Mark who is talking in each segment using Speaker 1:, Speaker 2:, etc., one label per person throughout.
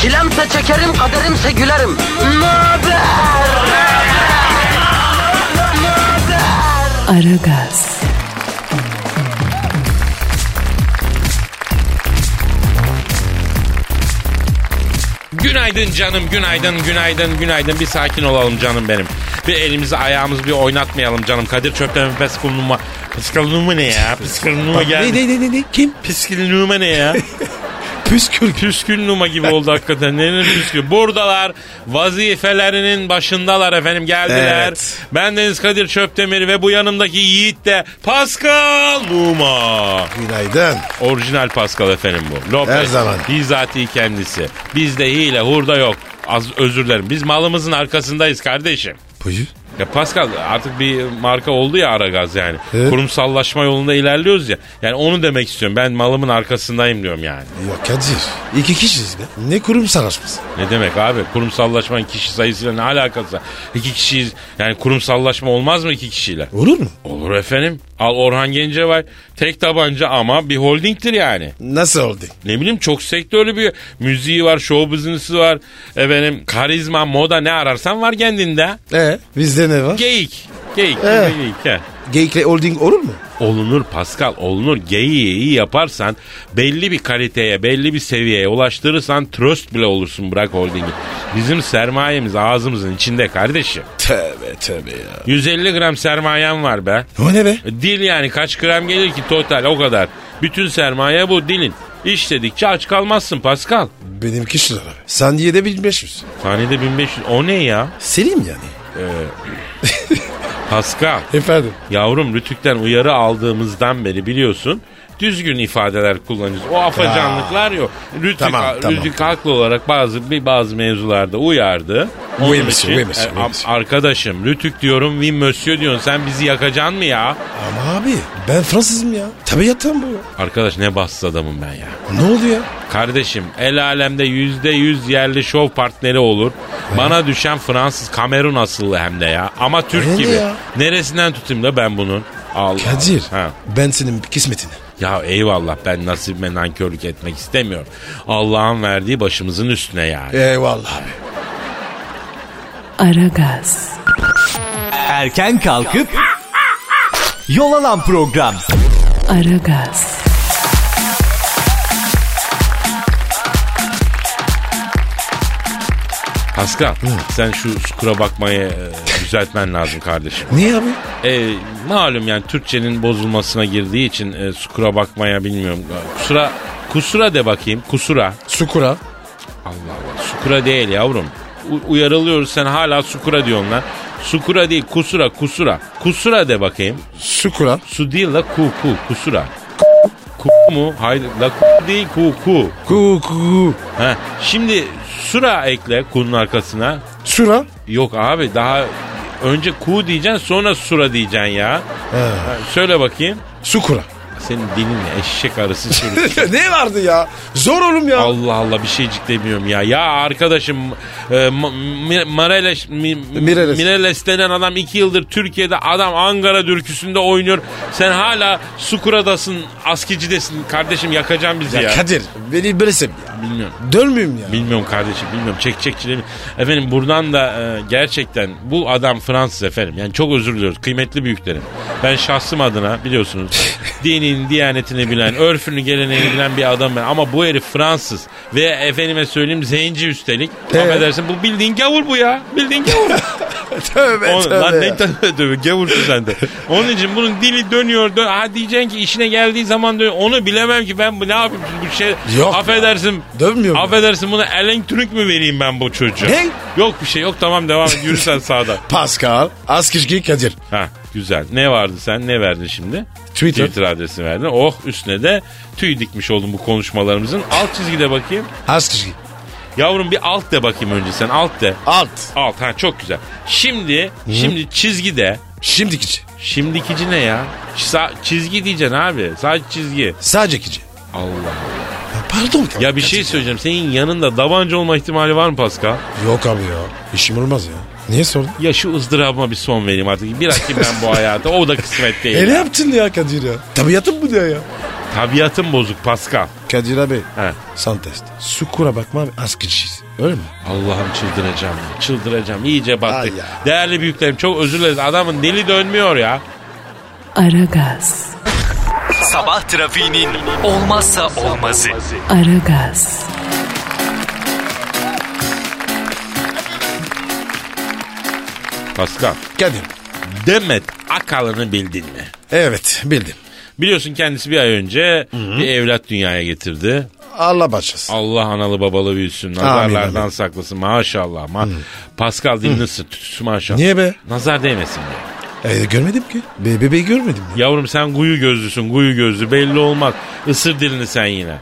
Speaker 1: Çilemse çekerim, kaderimse gülerim. Möber!
Speaker 2: Aragaz,
Speaker 3: Günaydın canım, günaydın, günaydın, günaydın. Bir sakin olalım canım benim. Bir elimizi ayağımızı bir oynatmayalım canım. Kadir Çöpten psikolunuma... Psikolunuma ne ya? Psikolunuma
Speaker 4: Ne
Speaker 3: geldi.
Speaker 4: ne ne ne ne kim?
Speaker 3: Psikolunuma ne ya?
Speaker 4: Püskür.
Speaker 3: Püskünlüğüme gibi oldu hakikaten. Nenin püskü? Buradalar. Vazifelerinin başındalar efendim. Geldiler.
Speaker 4: Evet.
Speaker 3: Ben Deniz Kadir Çöptemir ve bu yanımdaki yiğit de Pascal Numa.
Speaker 5: Günaydın.
Speaker 3: Orijinal Pascal efendim bu. Lopez.
Speaker 5: Her zaman.
Speaker 3: Bizatihi kendisi. Bizde hile hurda yok. Az özür dilerim. Biz malımızın arkasındayız kardeşim.
Speaker 5: Buyur.
Speaker 3: Ya Pascal artık bir marka oldu ya Aragaz yani.
Speaker 5: Evet.
Speaker 3: Kurumsallaşma yolunda ilerliyoruz ya. Yani onu demek istiyorum. Ben malımın arkasındayım diyorum yani.
Speaker 5: Ya Kadir. iki kişiyiz be. Ne kurum savaşması?
Speaker 3: Ne demek abi? Kurumsallaşmanın kişi sayısıyla ne alakası var? İki kişiyiz. Yani kurumsallaşma olmaz mı iki kişiyle?
Speaker 5: Olur mu?
Speaker 3: Olur efendim. Al Orhan Gencebay. Tek tabanca ama bir holdingtir yani.
Speaker 5: Nasıl oldu?
Speaker 3: Ne bileyim çok sektörlü bir müziği var, show business'ı var. Efendim karizma, moda ne ararsan var kendinde.
Speaker 5: E bizde ne var?
Speaker 3: Geyik. Geyik.
Speaker 5: Evet.
Speaker 3: Geyik. he.
Speaker 5: Geyikle holding olur mu?
Speaker 3: Olunur Pascal olunur geyiği iyi yaparsan belli bir kaliteye belli bir seviyeye ulaştırırsan tröst bile olursun bırak holdingi. Bizim sermayemiz ağzımızın içinde kardeşim.
Speaker 5: Tövbe tövbe ya.
Speaker 3: 150 gram sermayem var be.
Speaker 5: O ne be?
Speaker 3: E, Dil yani kaç gram gelir ki total o kadar. Bütün sermaye bu dilin. İşledikçe aç kalmazsın Pascal.
Speaker 5: Benimki şu abi. Saniyede 1500.
Speaker 3: Saniyede 1500 o ne ya?
Speaker 5: Selim yani.
Speaker 3: Pascal
Speaker 5: Efendim.
Speaker 3: yavrum Rütük'ten uyarı aldığımızdan beri biliyorsun düzgün ifadeler kullanıyoruz. O afacanlıklar yok. Rütük,
Speaker 5: Tamam, tamam.
Speaker 3: Rütük haklı olarak bazı bir bazı mevzularda uyardı.
Speaker 5: Oui, monsieur, oui, monsieur,
Speaker 3: e,
Speaker 5: oui,
Speaker 3: am-
Speaker 5: monsieur.
Speaker 3: arkadaşım Rütük diyorum, oui monsieur diyorsun. Sen bizi yakacaksın mı ya?
Speaker 5: Ama abi ben Fransızım ya. Tabiatım bu ya.
Speaker 3: Arkadaş ne bassız adamım ben ya.
Speaker 5: Ne oldu ya?
Speaker 3: Kardeşim el alemde yüzde yüz yerli şov partneri olur. Bana düşen Fransız Kamerun asıllı hem de ya. Ama Türk
Speaker 5: Öyle
Speaker 3: gibi.
Speaker 5: ya.
Speaker 3: Neresinden tutayım da ben bunun? Allah.
Speaker 5: Kadir.
Speaker 3: Ha.
Speaker 5: Ben senin kısmetine.
Speaker 3: Ya eyvallah ben nasibime nankörlük etmek istemiyorum. Allah'ın verdiği başımızın üstüne yani.
Speaker 5: Eyvallah abi.
Speaker 2: Aragaz,
Speaker 4: Erken kalkıp yol alan program.
Speaker 2: Aragaz,
Speaker 3: Pascal sen şu skura bakmayı e, düzeltmen lazım kardeşim.
Speaker 5: Niye abi?
Speaker 3: E, malum yani Türkçenin bozulmasına girdiği için e, skura bakmaya bilmiyorum. Kusura, kusura de bakayım kusura.
Speaker 5: Sukura.
Speaker 3: Allah Allah. Sukura değil yavrum. U- uyarılıyoruz sen hala sukura diyorsun lan. Sukura değil kusura kusura. Kusura de bakayım.
Speaker 5: Sukura.
Speaker 3: Su değil la ku ku kusura. Ku mu? Hayır la ku değil ku ku.
Speaker 5: Ku ku.
Speaker 3: Ha, şimdi sura ekle kunun arkasına.
Speaker 5: Sura.
Speaker 3: Yok abi daha önce ku diyeceksin sonra sura diyeceksin ya. Ha, söyle bakayim.
Speaker 5: Sukura.
Speaker 3: Senin dilinle eşek arısı sürüsü.
Speaker 5: ne vardı ya? Zor oğlum ya.
Speaker 3: Allah Allah bir şeycik demiyorum ya. Ya arkadaşım e, Ma- Mi- Mareles, Mi-
Speaker 5: Mireles.
Speaker 3: Mireles denen adam iki yıldır Türkiye'de adam Ankara dürküsünde oynuyor. Sen hala Sukura'dasın, Askici'desin. Kardeşim yakacaksın bizi ya.
Speaker 5: Ya Kadir beni bilirsin ya.
Speaker 3: Bilmiyorum.
Speaker 5: Dönmeyeyim ya.
Speaker 3: Bilmiyorum kardeşim bilmiyorum. Çek çek çileni. Efendim buradan da e, gerçekten bu adam Fransız efendim. Yani çok özür diliyoruz. Kıymetli büyüklerim. Ben şahsım adına biliyorsunuz dinin, diyanetini bilen, örfünü, geleneğini bilen bir adam ben. Ama bu herif Fransız. Ve efendime söyleyeyim zenci üstelik.
Speaker 5: Evet.
Speaker 3: Affedersin bu bildiğin gavur bu ya. Bildiğin gavur.
Speaker 5: tövbe
Speaker 3: Onun,
Speaker 5: tövbe
Speaker 3: lan ne
Speaker 5: ya.
Speaker 3: tövbe tövbe gavursun sen de. Onun için bunun dili dönüyor. Dön. Ha diyeceksin ki işine geldiği zaman dönüyor. Onu bilemem ki ben bu ne yapayım bu şey.
Speaker 5: Yok.
Speaker 3: Affedersin.
Speaker 5: Dönmüyor mu?
Speaker 3: Affedersin buna elektronik mü vereyim ben bu çocuğa?
Speaker 5: Ne?
Speaker 3: Yok bir şey yok tamam devam et yürü sen sağda.
Speaker 5: Pascal Askizgi Kadir.
Speaker 3: Ha güzel. Ne vardı sen ne verdin şimdi?
Speaker 5: Twitter.
Speaker 3: Twitter adresi verdin. Oh üstüne de tüy dikmiş oldum bu konuşmalarımızın. Alt çizgide bakayım.
Speaker 5: Askizgi.
Speaker 3: Yavrum bir alt de bakayım önce sen alt de.
Speaker 5: Alt.
Speaker 3: Alt ha çok güzel. Şimdi şimdi çizgi de.
Speaker 5: Şimdikici.
Speaker 3: Şimdikici ne ya? Sa- çizgi diyeceksin abi. Sadece çizgi.
Speaker 5: Sadekici.
Speaker 3: Allah.
Speaker 5: Pardon. Kadir.
Speaker 3: Ya bir şey söyleyeceğim. Senin yanında davanca olma ihtimali var mı Pascal?
Speaker 5: Yok abi ya. İşim olmaz ya. Niye sordun?
Speaker 3: Ya şu ızdırabıma bir son vereyim artık. Bırakayım ben bu hayatı. O da kısmet değil.
Speaker 5: E ne yaptın ya Kadir ya? Tabiatın bu diyor ya.
Speaker 3: Tabiatın bozuk Pascal.
Speaker 5: Kadir abi.
Speaker 3: He.
Speaker 5: San test. Sukura bakma abi askırçıyız. Öyle mi?
Speaker 3: Allah'ım çıldıracağım. ya, Çıldıracağım. İyice battık.
Speaker 5: Ay ya.
Speaker 3: Değerli büyüklerim çok özür dileriz. Adamın dili dönmüyor ya.
Speaker 2: Aragaz,
Speaker 4: Sabah trafiğinin olmazsa olmazı.
Speaker 2: Aragaz,
Speaker 3: Pascal.
Speaker 5: Kadir.
Speaker 3: Demet Akalın'ı bildin mi?
Speaker 5: Evet bildim.
Speaker 3: Biliyorsun kendisi bir ay önce bir evlat dünyaya getirdi.
Speaker 5: Allah başlasın.
Speaker 3: Allah analı babalı büyüsün. Nazarlardan
Speaker 5: amin.
Speaker 3: saklasın maşallah. Ma Pascal dilini sıtüsü maşallah.
Speaker 5: Niye be?
Speaker 3: Nazar değmesin diye.
Speaker 5: E, görmedim ki. Be bebeği görmedim. Ya.
Speaker 3: Yavrum sen kuyu gözlüsün kuyu gözlü belli olmaz. Isır dilini sen yine.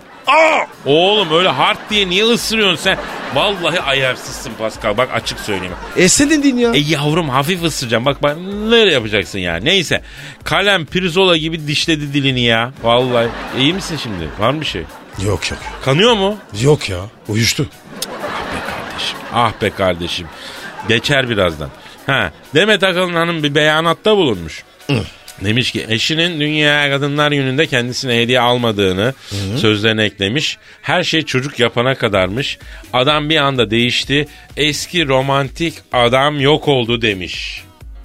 Speaker 3: Oğlum öyle hard diye niye ısırıyorsun sen? Vallahi ayarsızsın Pascal bak açık söyleyeyim.
Speaker 5: E sen dedin ya.
Speaker 3: E yavrum hafif ısıracağım bak bak neler yapacaksın ya neyse. Kalem pirzola gibi dişledi dilini ya. Vallahi iyi misin şimdi var mı bir şey?
Speaker 5: E, Yok yok.
Speaker 3: Kanıyor mu?
Speaker 5: Yok ya. Uyuştu.
Speaker 3: kardeşim. Ah be kardeşim. Geçer birazdan. Ha, Demet Akalın Hanım bir beyanatta bulunmuş. Demiş ki eşinin Dünya Kadınlar Günü'nde kendisine hediye almadığını sözlerine eklemiş. Her şey çocuk yapana kadarmış. Adam bir anda değişti. Eski romantik adam yok oldu demiş.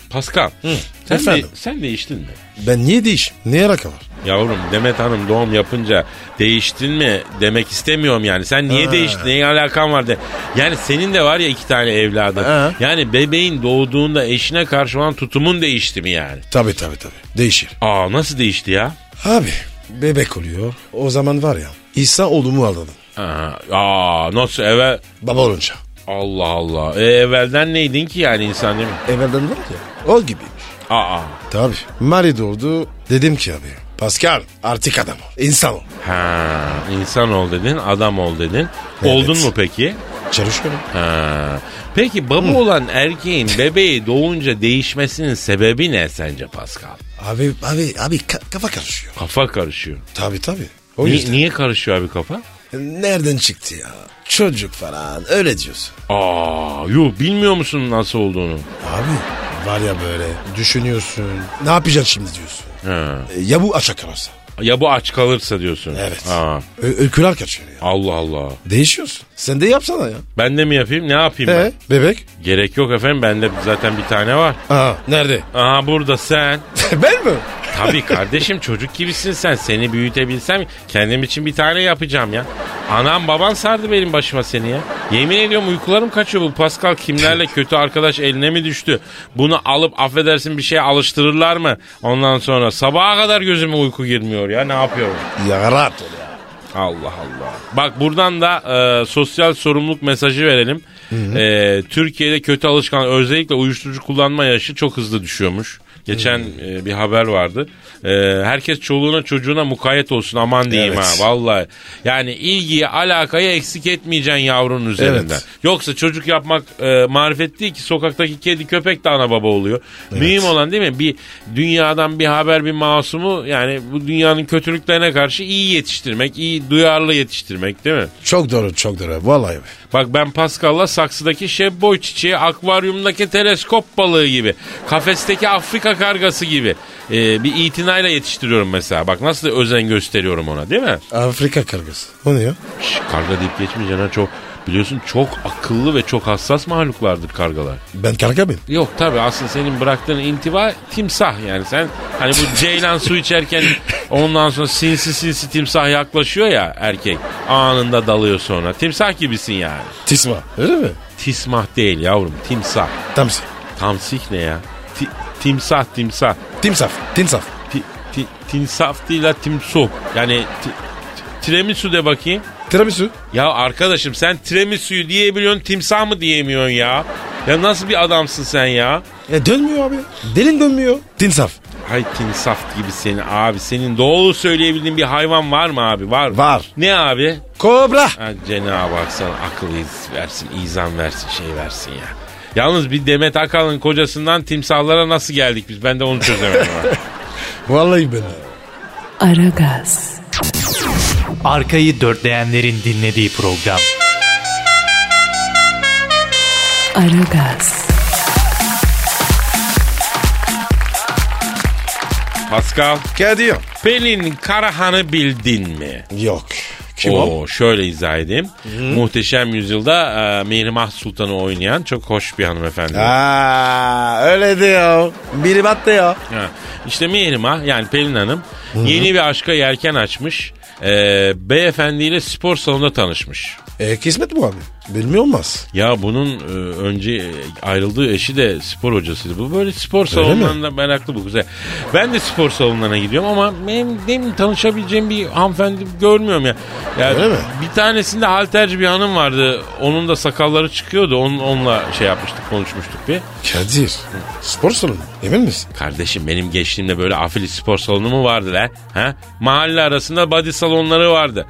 Speaker 3: Pascal sen, de,
Speaker 5: Efendim?
Speaker 3: sen değiştin mi?
Speaker 5: Ben niye değişim? Neye alaka var?
Speaker 3: Yavrum Demet Hanım doğum yapınca değiştin mi demek istemiyorum yani. Sen niye değiştin? Neye alakan var de. Yani senin de var ya iki tane evladın.
Speaker 5: Ha.
Speaker 3: Yani bebeğin doğduğunda eşine karşı olan tutumun değişti mi yani?
Speaker 5: Tabii tabii tabii. Değişir.
Speaker 3: Aa nasıl değişti ya?
Speaker 5: Abi bebek oluyor. O zaman var ya. İsa oğlumu aldın.
Speaker 3: Aha, Aa nasıl evvel...
Speaker 5: Baba olunca.
Speaker 3: Allah Allah. E, evvelden neydin ki yani insan değil mi?
Speaker 5: Evvelden var ya. O gibiymiş.
Speaker 3: Aa.
Speaker 5: Tabii. Mari doğurdu. Dedim ki abi. Pascal artık adam ol. İnsan ol.
Speaker 3: Ha, insan ol dedin, adam ol dedin.
Speaker 5: Evet.
Speaker 3: Oldun mu peki?
Speaker 5: Çalışıyorum.
Speaker 3: Ha. Peki baba olan erkeğin bebeği doğunca değişmesinin sebebi ne sence Pascal?
Speaker 5: Abi abi abi ka- kafa karışıyor.
Speaker 3: Kafa karışıyor.
Speaker 5: Tabii tabii. O
Speaker 3: Ni-
Speaker 5: yüzden.
Speaker 3: niye karışıyor abi kafa?
Speaker 5: Nereden çıktı ya? Çocuk falan öyle diyorsun.
Speaker 3: Aa, yuh bilmiyor musun nasıl olduğunu?
Speaker 5: Abi var ya böyle düşünüyorsun. Ne yapacaksın şimdi diyorsun.
Speaker 3: Ha.
Speaker 5: E, Ya bu aşağı kalırsa?
Speaker 3: Ya bu aç kalırsa diyorsun.
Speaker 5: Evet.
Speaker 3: Ha.
Speaker 5: Ö- öyküler kaçıyor ya.
Speaker 3: Allah Allah.
Speaker 5: Değişiyorsun. Sen de yapsana ya.
Speaker 3: Ben de mi yapayım? Ne yapayım
Speaker 5: He, bebek.
Speaker 3: ben? Gerek yok efendim. Bende zaten bir tane var.
Speaker 5: Aa, nerede?
Speaker 3: Aha burada sen.
Speaker 5: ben mi?
Speaker 3: Tabii kardeşim çocuk gibisin sen. Seni büyütebilsem kendim için bir tane yapacağım ya. Anam baban sardı benim başıma seni ya. Yemin ediyorum uykularım kaçıyor bu Pascal kimlerle kötü arkadaş eline mi düştü? Bunu alıp affedersin bir şeye alıştırırlar mı? Ondan sonra sabaha kadar gözüme uyku girmiyor ya ne yapıyorum?
Speaker 5: Ya rahat ol ya.
Speaker 3: Allah Allah. Bak buradan da e, sosyal sorumluluk mesajı verelim. E, Türkiye'de kötü alışkan özellikle uyuşturucu kullanma yaşı çok hızlı düşüyormuş. Geçen e, bir haber vardı. E, herkes çoluğuna çocuğuna mukayyet olsun aman diyeyim
Speaker 5: Evet.
Speaker 3: ha vallahi. Yani ilgiyi alakayı eksik etmeyeceksin yavrunun üzerinden.
Speaker 5: Evet.
Speaker 3: Yoksa çocuk yapmak e, marifet değil ki sokaktaki kedi köpek de ana baba oluyor. Mühim olan değil mi? Bir dünyadan bir haber bir masumu yani bu dünyanın kötülüklerine karşı iyi yetiştirmek, iyi duyarlı yetiştirmek değil mi?
Speaker 5: Çok doğru çok doğru. Vallahi abi.
Speaker 3: Bak ben Pascal'la saksıdaki şebboy çiçeği, akvaryumdaki teleskop balığı gibi, kafesteki Afrika kargası gibi e, bir itinayla yetiştiriyorum mesela. Bak nasıl özen gösteriyorum ona değil mi?
Speaker 5: Afrika kargası. O ne ya?
Speaker 3: Şş, karga deyip geçmeyeceksin ha çok. Biliyorsun çok akıllı ve çok hassas mahluklardır kargalar.
Speaker 5: Ben karga mıyım?
Speaker 3: Yok tabii aslında senin bıraktığın intiba timsah yani sen hani bu ceylan su içerken ondan sonra sinsi sinsi timsah yaklaşıyor ya erkek anında dalıyor sonra timsah gibisin yani.
Speaker 5: Tisma. Öyle mi?
Speaker 3: Tismah değil yavrum timsah.
Speaker 5: Tamsi.
Speaker 3: Tamsik ne ya? Ti- timsah timsah.
Speaker 5: Timsaf. Timsaf.
Speaker 3: Ti- ti- tinsaf değil la timsu. Yani ti- ti- tiramisu de bakayım.
Speaker 5: Tiramisu.
Speaker 3: Ya arkadaşım sen tiramisu'yu diyebiliyorsun timsah mı diyemiyorsun ya? Ya nasıl bir adamsın sen ya?
Speaker 5: E dönmüyor abi. Delin dönmüyor. Timsaf.
Speaker 3: Hay tinsaft gibi seni abi. Senin doğru söyleyebildiğin bir hayvan var mı abi? Var.
Speaker 5: Var.
Speaker 3: Ne abi?
Speaker 5: Kobra.
Speaker 3: Ha, Cenab-ı Hak sana akıl iz- versin, izan versin, şey versin ya. Yalnız bir Demet Akalın kocasından timsahlara nasıl geldik biz? Ben de onu çözemedim. ha.
Speaker 5: Vallahi ben. de.
Speaker 2: Aragaz,
Speaker 4: Arkayı dörtleyenlerin dinlediği program.
Speaker 2: Aragaz,
Speaker 3: Pascal,
Speaker 5: Kadir.
Speaker 3: Pelin Karahan'ı bildin mi?
Speaker 5: Yok. Kim o?
Speaker 3: Oo, şöyle izah edeyim. Muhteşem Yüzyıl'da e, Mihrimah Sultan'ı oynayan çok hoş bir hanımefendi.
Speaker 5: Aa, öyle diyor. Biri battı ya.
Speaker 3: Ha. İşte Mihrimah yani Pelin Hanım yeni bir aşka yelken açmış. E, beyefendiyle spor salonunda tanışmış.
Speaker 5: E, kısmet bu abi. Bilmiyor olmaz.
Speaker 3: Ya bunun e, önce ayrıldığı eşi de spor hocasıydı. Bu böyle spor salonlarında meraklı bu güzel. Ben de spor salonlarına gidiyorum ama benim, benim tanışabileceğim bir hanımefendi görmüyorum ya. ya
Speaker 5: Öyle mi?
Speaker 3: Bir tanesinde halterci bir hanım vardı. Onun da sakalları çıkıyordu. Onun, onunla şey yapmıştık konuşmuştuk bir.
Speaker 5: Kadir. Spor salonu. Emin misin?
Speaker 3: Kardeşim benim gençliğimde böyle afili spor salonu mu vardı lan? Ha? Mahalle arasında body salonları vardı.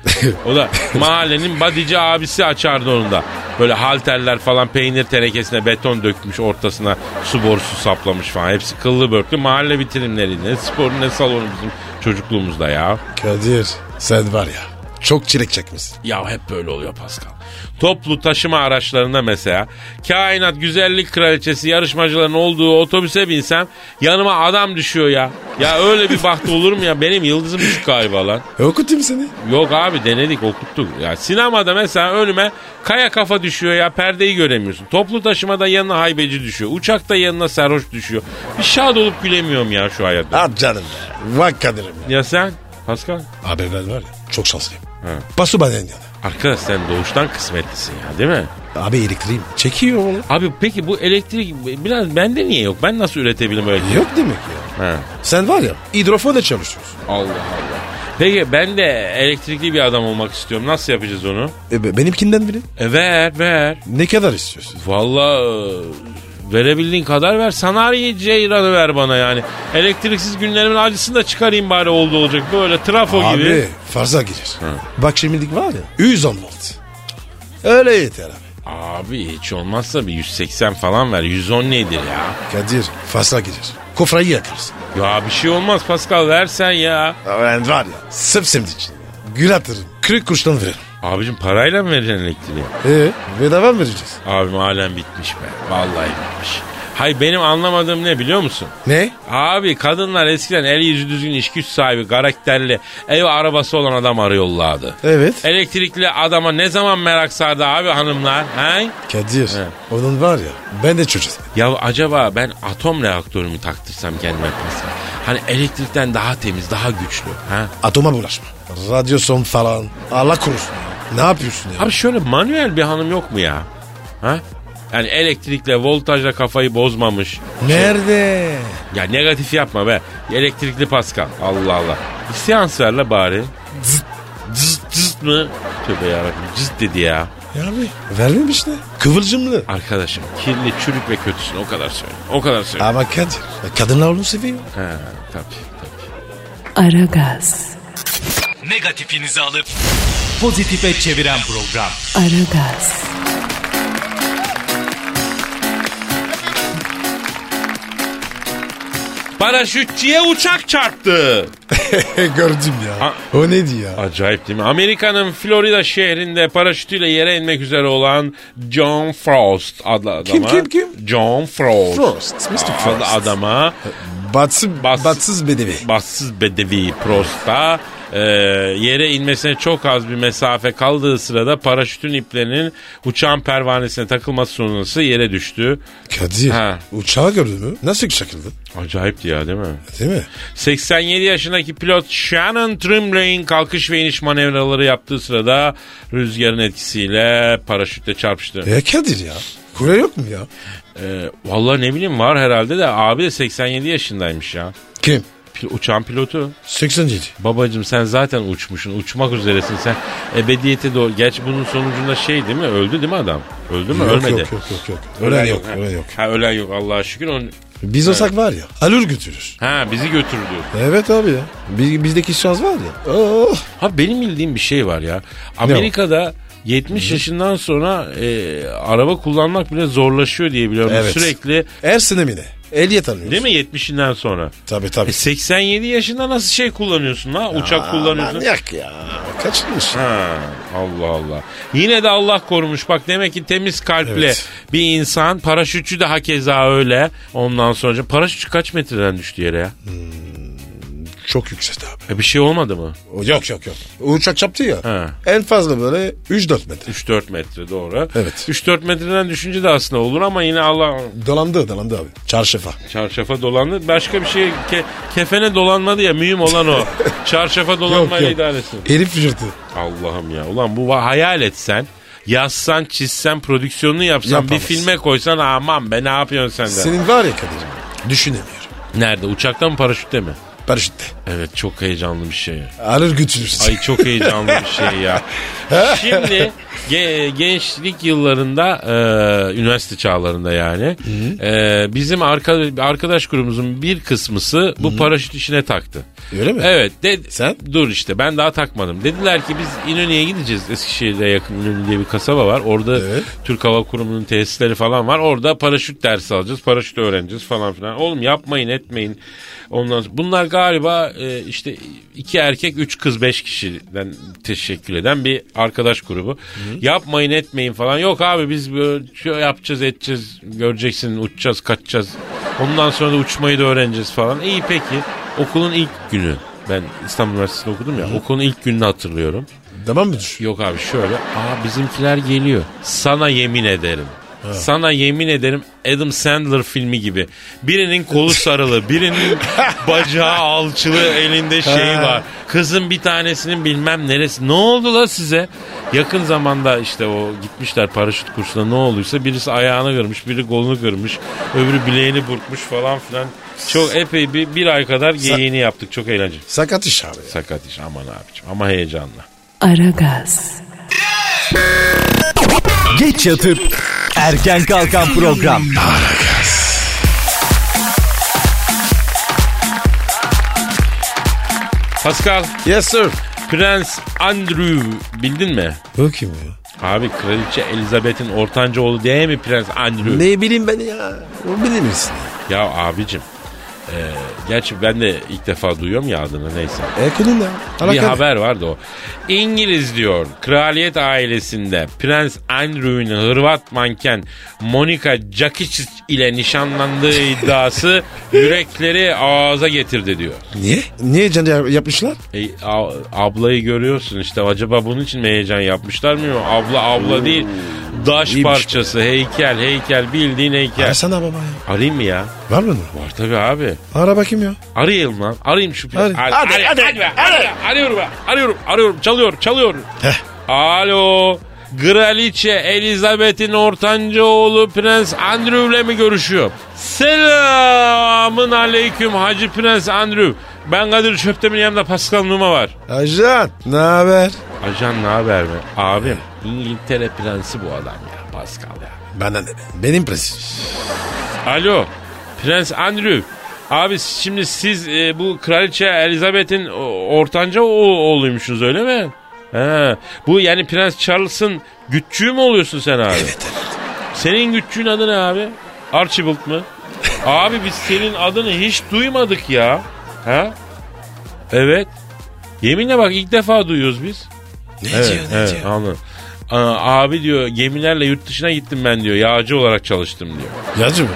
Speaker 3: O da mahallenin bodyci abisi açardı onu da. Böyle halterler falan peynir tenekesine beton dökmüş ortasına su borusu saplamış falan. Hepsi kıllı börklü mahalle bitirimleriydi. Ne sporu ne salonu bizim çocukluğumuzda ya.
Speaker 5: Kadir. Sen var ya. Çok çilek çekmişsin.
Speaker 3: Ya hep böyle oluyor Pascal. Toplu taşıma araçlarında mesela kainat güzellik kraliçesi yarışmacıların olduğu otobüse binsem yanıma adam düşüyor ya. Ya öyle bir bahtı olur mu ya? Benim yıldızım düşük galiba lan.
Speaker 5: E, okutayım seni.
Speaker 3: Yok abi denedik okuttuk. Ya sinemada mesela önüme kaya kafa düşüyor ya perdeyi göremiyorsun. Toplu taşımada yanına haybeci düşüyor. Uçakta yanına sarhoş düşüyor. Bir şad olup gülemiyorum ya şu hayatta.
Speaker 5: At canım be. Bak Kadir'im ya.
Speaker 3: Ya sen Pascal?
Speaker 5: Abi ben var ya. Çok şanslıyım. Pasu benden yana.
Speaker 3: Arkadaş sen doğuştan kısmetlisin ya değil mi?
Speaker 5: Abi elektriğim çekiyor oğlum.
Speaker 3: Abi peki bu elektrik biraz bende niye yok? Ben nasıl üretebilirim öyle?
Speaker 5: Yok demek ya.
Speaker 3: Ha.
Speaker 5: Sen var ya hidrofonla çalışıyorsun.
Speaker 3: Allah Allah. Peki ben de elektrikli bir adam olmak istiyorum. Nasıl yapacağız onu?
Speaker 5: E, be- benimkinden biri.
Speaker 3: E ver ver.
Speaker 5: Ne kadar istiyorsun?
Speaker 3: Valla e, verebildiğin kadar ver. Sanayi ceyranı ver bana yani. Elektriksiz günlerimin acısını da çıkarayım bari oldu olacak. Böyle trafo
Speaker 5: Abi
Speaker 3: gibi.
Speaker 5: fazla girer. Bak şimdilik var ya 110 volt. Öyle yeter abi.
Speaker 3: Abi hiç olmazsa bir 180 falan ver. 110 nedir ya?
Speaker 5: Kadir fazla girer. Kofrayı yakarsın.
Speaker 3: Ya bir şey olmaz Pascal versen ya.
Speaker 5: Ben var ya sımsımdicin. Gül atarım. Kırık kuruştan veririm.
Speaker 3: Abicim parayla mı vereceksin elektriği?
Speaker 5: Ee, bedava mı vereceğiz?
Speaker 3: Abim alem bitmiş be. Vallahi bitmiş. Hay benim anlamadığım ne biliyor musun?
Speaker 5: Ne?
Speaker 3: Abi kadınlar eskiden el yüzü düzgün iş güç sahibi, karakterli, ev arabası olan adam arıyorlardı.
Speaker 5: Evet.
Speaker 3: Elektrikli adama ne zaman merak sardı abi hanımlar? He?
Speaker 5: Kadir
Speaker 3: E- He.
Speaker 5: onun var ya ben de çocuğum.
Speaker 3: Ya acaba ben atom reaktörü mü taktırsam kendime Pascal? Hani elektrikten daha temiz, daha güçlü. Ha?
Speaker 5: Atoma bulaşma. Radyo son falan. Allah korusun. Ne yapıyorsun ya?
Speaker 3: Abi şöyle manuel bir hanım yok mu ya? Ha? Yani elektrikle, voltajla kafayı bozmamış.
Speaker 5: Nerede?
Speaker 3: Ya negatif yapma be. Elektrikli Pascal. Allah Allah. Bir seans ver la bari. Cıt, cıt, cıt mı? Tövbe yarabbim cıt dedi ya.
Speaker 5: Ya abi vermemiş ne? Kıvılcımlı.
Speaker 3: Arkadaşım kirli, çürük ve kötüsün o kadar söyle. O kadar söyle.
Speaker 5: Ama Kadir kadınlar onu seviyor.
Speaker 3: Ha, tabii tabii.
Speaker 2: Aragaz,
Speaker 4: Negatifinizi alıp pozitife çeviren program.
Speaker 2: Aragaz,
Speaker 3: Paraşütçüye uçak çarptı.
Speaker 5: Gördüm ya.
Speaker 3: A-
Speaker 5: o neydi ya?
Speaker 3: Acayip değil mi? Amerika'nın Florida şehrinde paraşütüyle yere inmek üzere olan John Frost adlı adama.
Speaker 5: Kim, kim, kim?
Speaker 3: John Frost.
Speaker 5: Frost, Mr. Frost.
Speaker 3: Adlı adama
Speaker 5: Batsız,
Speaker 3: Bats-
Speaker 5: batsız bedevi.
Speaker 3: bassız bedevi Prost'a e, yere inmesine çok az bir mesafe kaldığı sırada paraşütün iplerinin uçağın pervanesine takılması sonrası yere düştü.
Speaker 5: Kadir
Speaker 3: Ha.
Speaker 5: uçağı gördün mü? Nasıl çakıldı?
Speaker 3: Acayipti ya değil mi?
Speaker 5: Değil mi?
Speaker 3: 87 yaşındaki pilot Shannon Trimley'in kalkış ve iniş manevraları yaptığı sırada rüzgarın etkisiyle paraşütle çarpıştı.
Speaker 5: E Kadir ya. Kule yok mu ya?
Speaker 3: Ee, vallahi ne bileyim var herhalde de abi de 87 yaşındaymış ya.
Speaker 5: Kim?
Speaker 3: Pil- uçağın pilotu.
Speaker 5: 87.
Speaker 3: Babacım sen zaten uçmuşsun. Uçmak üzeresin sen. Ebediyete doğru. Gerçi bunun sonucunda şey değil mi? Öldü değil mi adam? Öldü mü?
Speaker 5: Yok,
Speaker 3: Ölmedi.
Speaker 5: Yok yok yok. yok. Ölen yok. Ölen yok.
Speaker 3: Ha ölen yok Allah'a şükür. Onun
Speaker 5: Biz olsak var ya alır götürür.
Speaker 3: Ha bizi götür diyor.
Speaker 5: Evet abi ya. Bi- bizdeki şans var ya. Oh.
Speaker 3: Ha benim bildiğim bir şey var ya. Amerika'da 70 yaşından sonra e, araba kullanmak bile zorlaşıyor diye biliyorum.
Speaker 5: Evet.
Speaker 3: Sürekli
Speaker 5: Her sinemine. Ehliyet alıyoruz.
Speaker 3: değil mi 70'inden sonra?
Speaker 5: Tabii tabii.
Speaker 3: E, 87 yaşında nasıl şey kullanıyorsun ha? Uçak kullanıyorsun.
Speaker 5: Manyak ya. Kaçırmış.
Speaker 3: Ha, Allah Allah. Yine de Allah korumuş. Bak demek ki temiz kalpli
Speaker 5: Evet.
Speaker 3: bir insan. Paraşütçü de hakeza öyle. Ondan sonra paraşütçü kaç metreden düştü yere ya?
Speaker 5: Çok yüksek abi.
Speaker 3: E, bir şey olmadı mı?
Speaker 5: Yok yok yok. Uçak çarptı ya.
Speaker 3: Ha.
Speaker 5: En fazla böyle 3-4 metre.
Speaker 3: 3-4 metre doğru.
Speaker 5: Evet.
Speaker 3: 3-4 metreden düşünce de aslında olur ama yine Allah
Speaker 5: Dolandı dolandı abi. Çarşafa.
Speaker 3: çarşafa dolandı. Başka bir şey ke- kefene dolanmadı ya mühim olan o. çarşafa dolanmayla idare etsin.
Speaker 5: Herif fıcırdı.
Speaker 3: Allah'ım ya. Ulan bu va- hayal etsen yazsan, çizsen, prodüksiyonunu yapsan,
Speaker 5: Yapamazsın.
Speaker 3: bir filme koysan aman be ne yapıyorsun sen de?
Speaker 5: Senin var ya Kadir. Düşünemiyorum.
Speaker 3: Nerede? Uçaktan mı paraşütte mi?
Speaker 5: Paraşütte.
Speaker 3: Evet çok heyecanlı bir şey.
Speaker 5: Alır götürürsün.
Speaker 3: Ay çok heyecanlı bir şey ya. Şimdi ge- gençlik yıllarında e, üniversite çağlarında yani e, bizim arka- arkadaş grubumuzun bir kısmısı bu paraşüt işine taktı.
Speaker 5: Öyle mi?
Speaker 3: Evet. de-
Speaker 5: Sen?
Speaker 3: Dur işte ben daha takmadım. Dediler ki biz İnönü'ye gideceğiz. Eskişehir'de yakın İnönü diye bir kasaba var. Orada
Speaker 5: Evet.
Speaker 3: Türk Hava Kurumu'nun tesisleri falan var. Orada paraşüt dersi alacağız. Paraşüt öğreneceğiz falan filan. Oğlum yapmayın etmeyin. Ondan sonra- bunlar galiba e, işte iki erkek üç kız beş kişiden teşekkül eden bir arkadaş grubu. Yapmayın etmeyin falan. Yok abi biz böyle şöyle yapacağız edeceğiz. Göreceksin uçacağız kaçacağız. Ondan sonra da uçmayı da öğreneceğiz falan. İyi peki. Okulun ilk günü. Ben İstanbul Üniversitesi'nde okudum ya. Okulun ilk gününü hatırlıyorum.
Speaker 5: Tamam mı düşün?
Speaker 3: Yok abi şöyle. Aa bizimkiler geliyor. Sana yemin ederim. Sana yemin ederim Adam Sandler filmi gibi. Birinin kolu sarılı, birinin bacağı alçılı, elinde şey
Speaker 5: Ha.
Speaker 3: var. Kızın bir tanesinin bilmem neresi. Ne oldu la size? Yakın zamanda işte o gitmişler paraşüt kursuna ne olduysa birisi ayağını kırmış, biri kolunu kırmış, öbürü bileğini burkmuş falan filan. Çok epey bir, bir ay kadar geyiğini yaptık. Çok eğlenceli.
Speaker 5: Sakat iş abi. ya.
Speaker 3: Sakat iş aman abicim ama heyecanla.
Speaker 2: Aragaz,
Speaker 4: Geç yatıp erken kalkan program.
Speaker 3: Pascal.
Speaker 5: Yes sir.
Speaker 3: Prens Andrew bildin mi?
Speaker 5: O kim ya?
Speaker 3: Abi kraliçe Elizabeth'in ortanca oğlu diye mi Prens Andrew?
Speaker 5: Ne bileyim ben ya. O bilir misin?
Speaker 3: Ya abicim. e, gerçi ben de ilk defa duyuyorum ya adını neyse.
Speaker 5: E konu ne?
Speaker 3: Bir
Speaker 5: Alakalı.
Speaker 3: haber vardı o. İngiliz diyor kraliyet ailesinde Prens Andrew'un Hırvat manken Monica Jakic ile nişanlandığı iddiası yürekleri ağza getirdi diyor.
Speaker 5: Niye? Niye can yap- yapmışlar?
Speaker 3: E, a- ablayı görüyorsun işte acaba bunun için mi heyecan yapmışlar mı? Abla abla değil daş
Speaker 5: iyiymiş
Speaker 3: parçası heykel heykel bildiğin heykel.
Speaker 5: Arasana baba ya.
Speaker 3: Arayayım mı ya?
Speaker 5: Var mı? onun?
Speaker 3: Var tabii abi.
Speaker 5: Ara bakayım ya.
Speaker 3: Arayayım lan. Arayayım şu.
Speaker 5: Hadi.
Speaker 3: Ar-
Speaker 5: Hadi,
Speaker 3: ar-
Speaker 5: hadi,
Speaker 3: hadi be, hadi be. Arıyorum ben. Arıyorum arıyorum çalıyor çalıyor.
Speaker 5: Heh.
Speaker 3: Alo. Kraliçe Elizabeth'in ortanca oğlu Prens Andrew'le mi görüşüyor? Selamın aleyküm Hacı Prens Andrew. Ben Kadir Çöptemir yanımda Pascal Numa var.
Speaker 5: Ajan. Ne haber?
Speaker 3: Ajan ne haber mi? Abim İngiltere prensi bu adam ya Pascal ya.
Speaker 5: Bana ne? Benim prens.
Speaker 3: Alo Prens Andrew. Abi şimdi siz e, bu kraliçe Elizabeth'in o- ortanca o- oğluymuşsunuz öyle mi? He. Bu yani Prens Charles'ın gütçüğü mü oluyorsun sen abi?
Speaker 5: Evet.
Speaker 3: Senin gütçüğün adı ne abi? Archibald mı? abi biz senin adını hiç duymadık ya. Ha? Evet. Yeminle bak ilk defa duyuyoruz biz.
Speaker 5: Ne
Speaker 3: Evet,
Speaker 5: diyor ne
Speaker 3: evet,
Speaker 5: diyor?
Speaker 3: anladım. Aa, abi diyor gemilerle yurt dışına gittim ben diyor. Yağcı olarak çalıştım diyor.
Speaker 5: Yazıcı mı?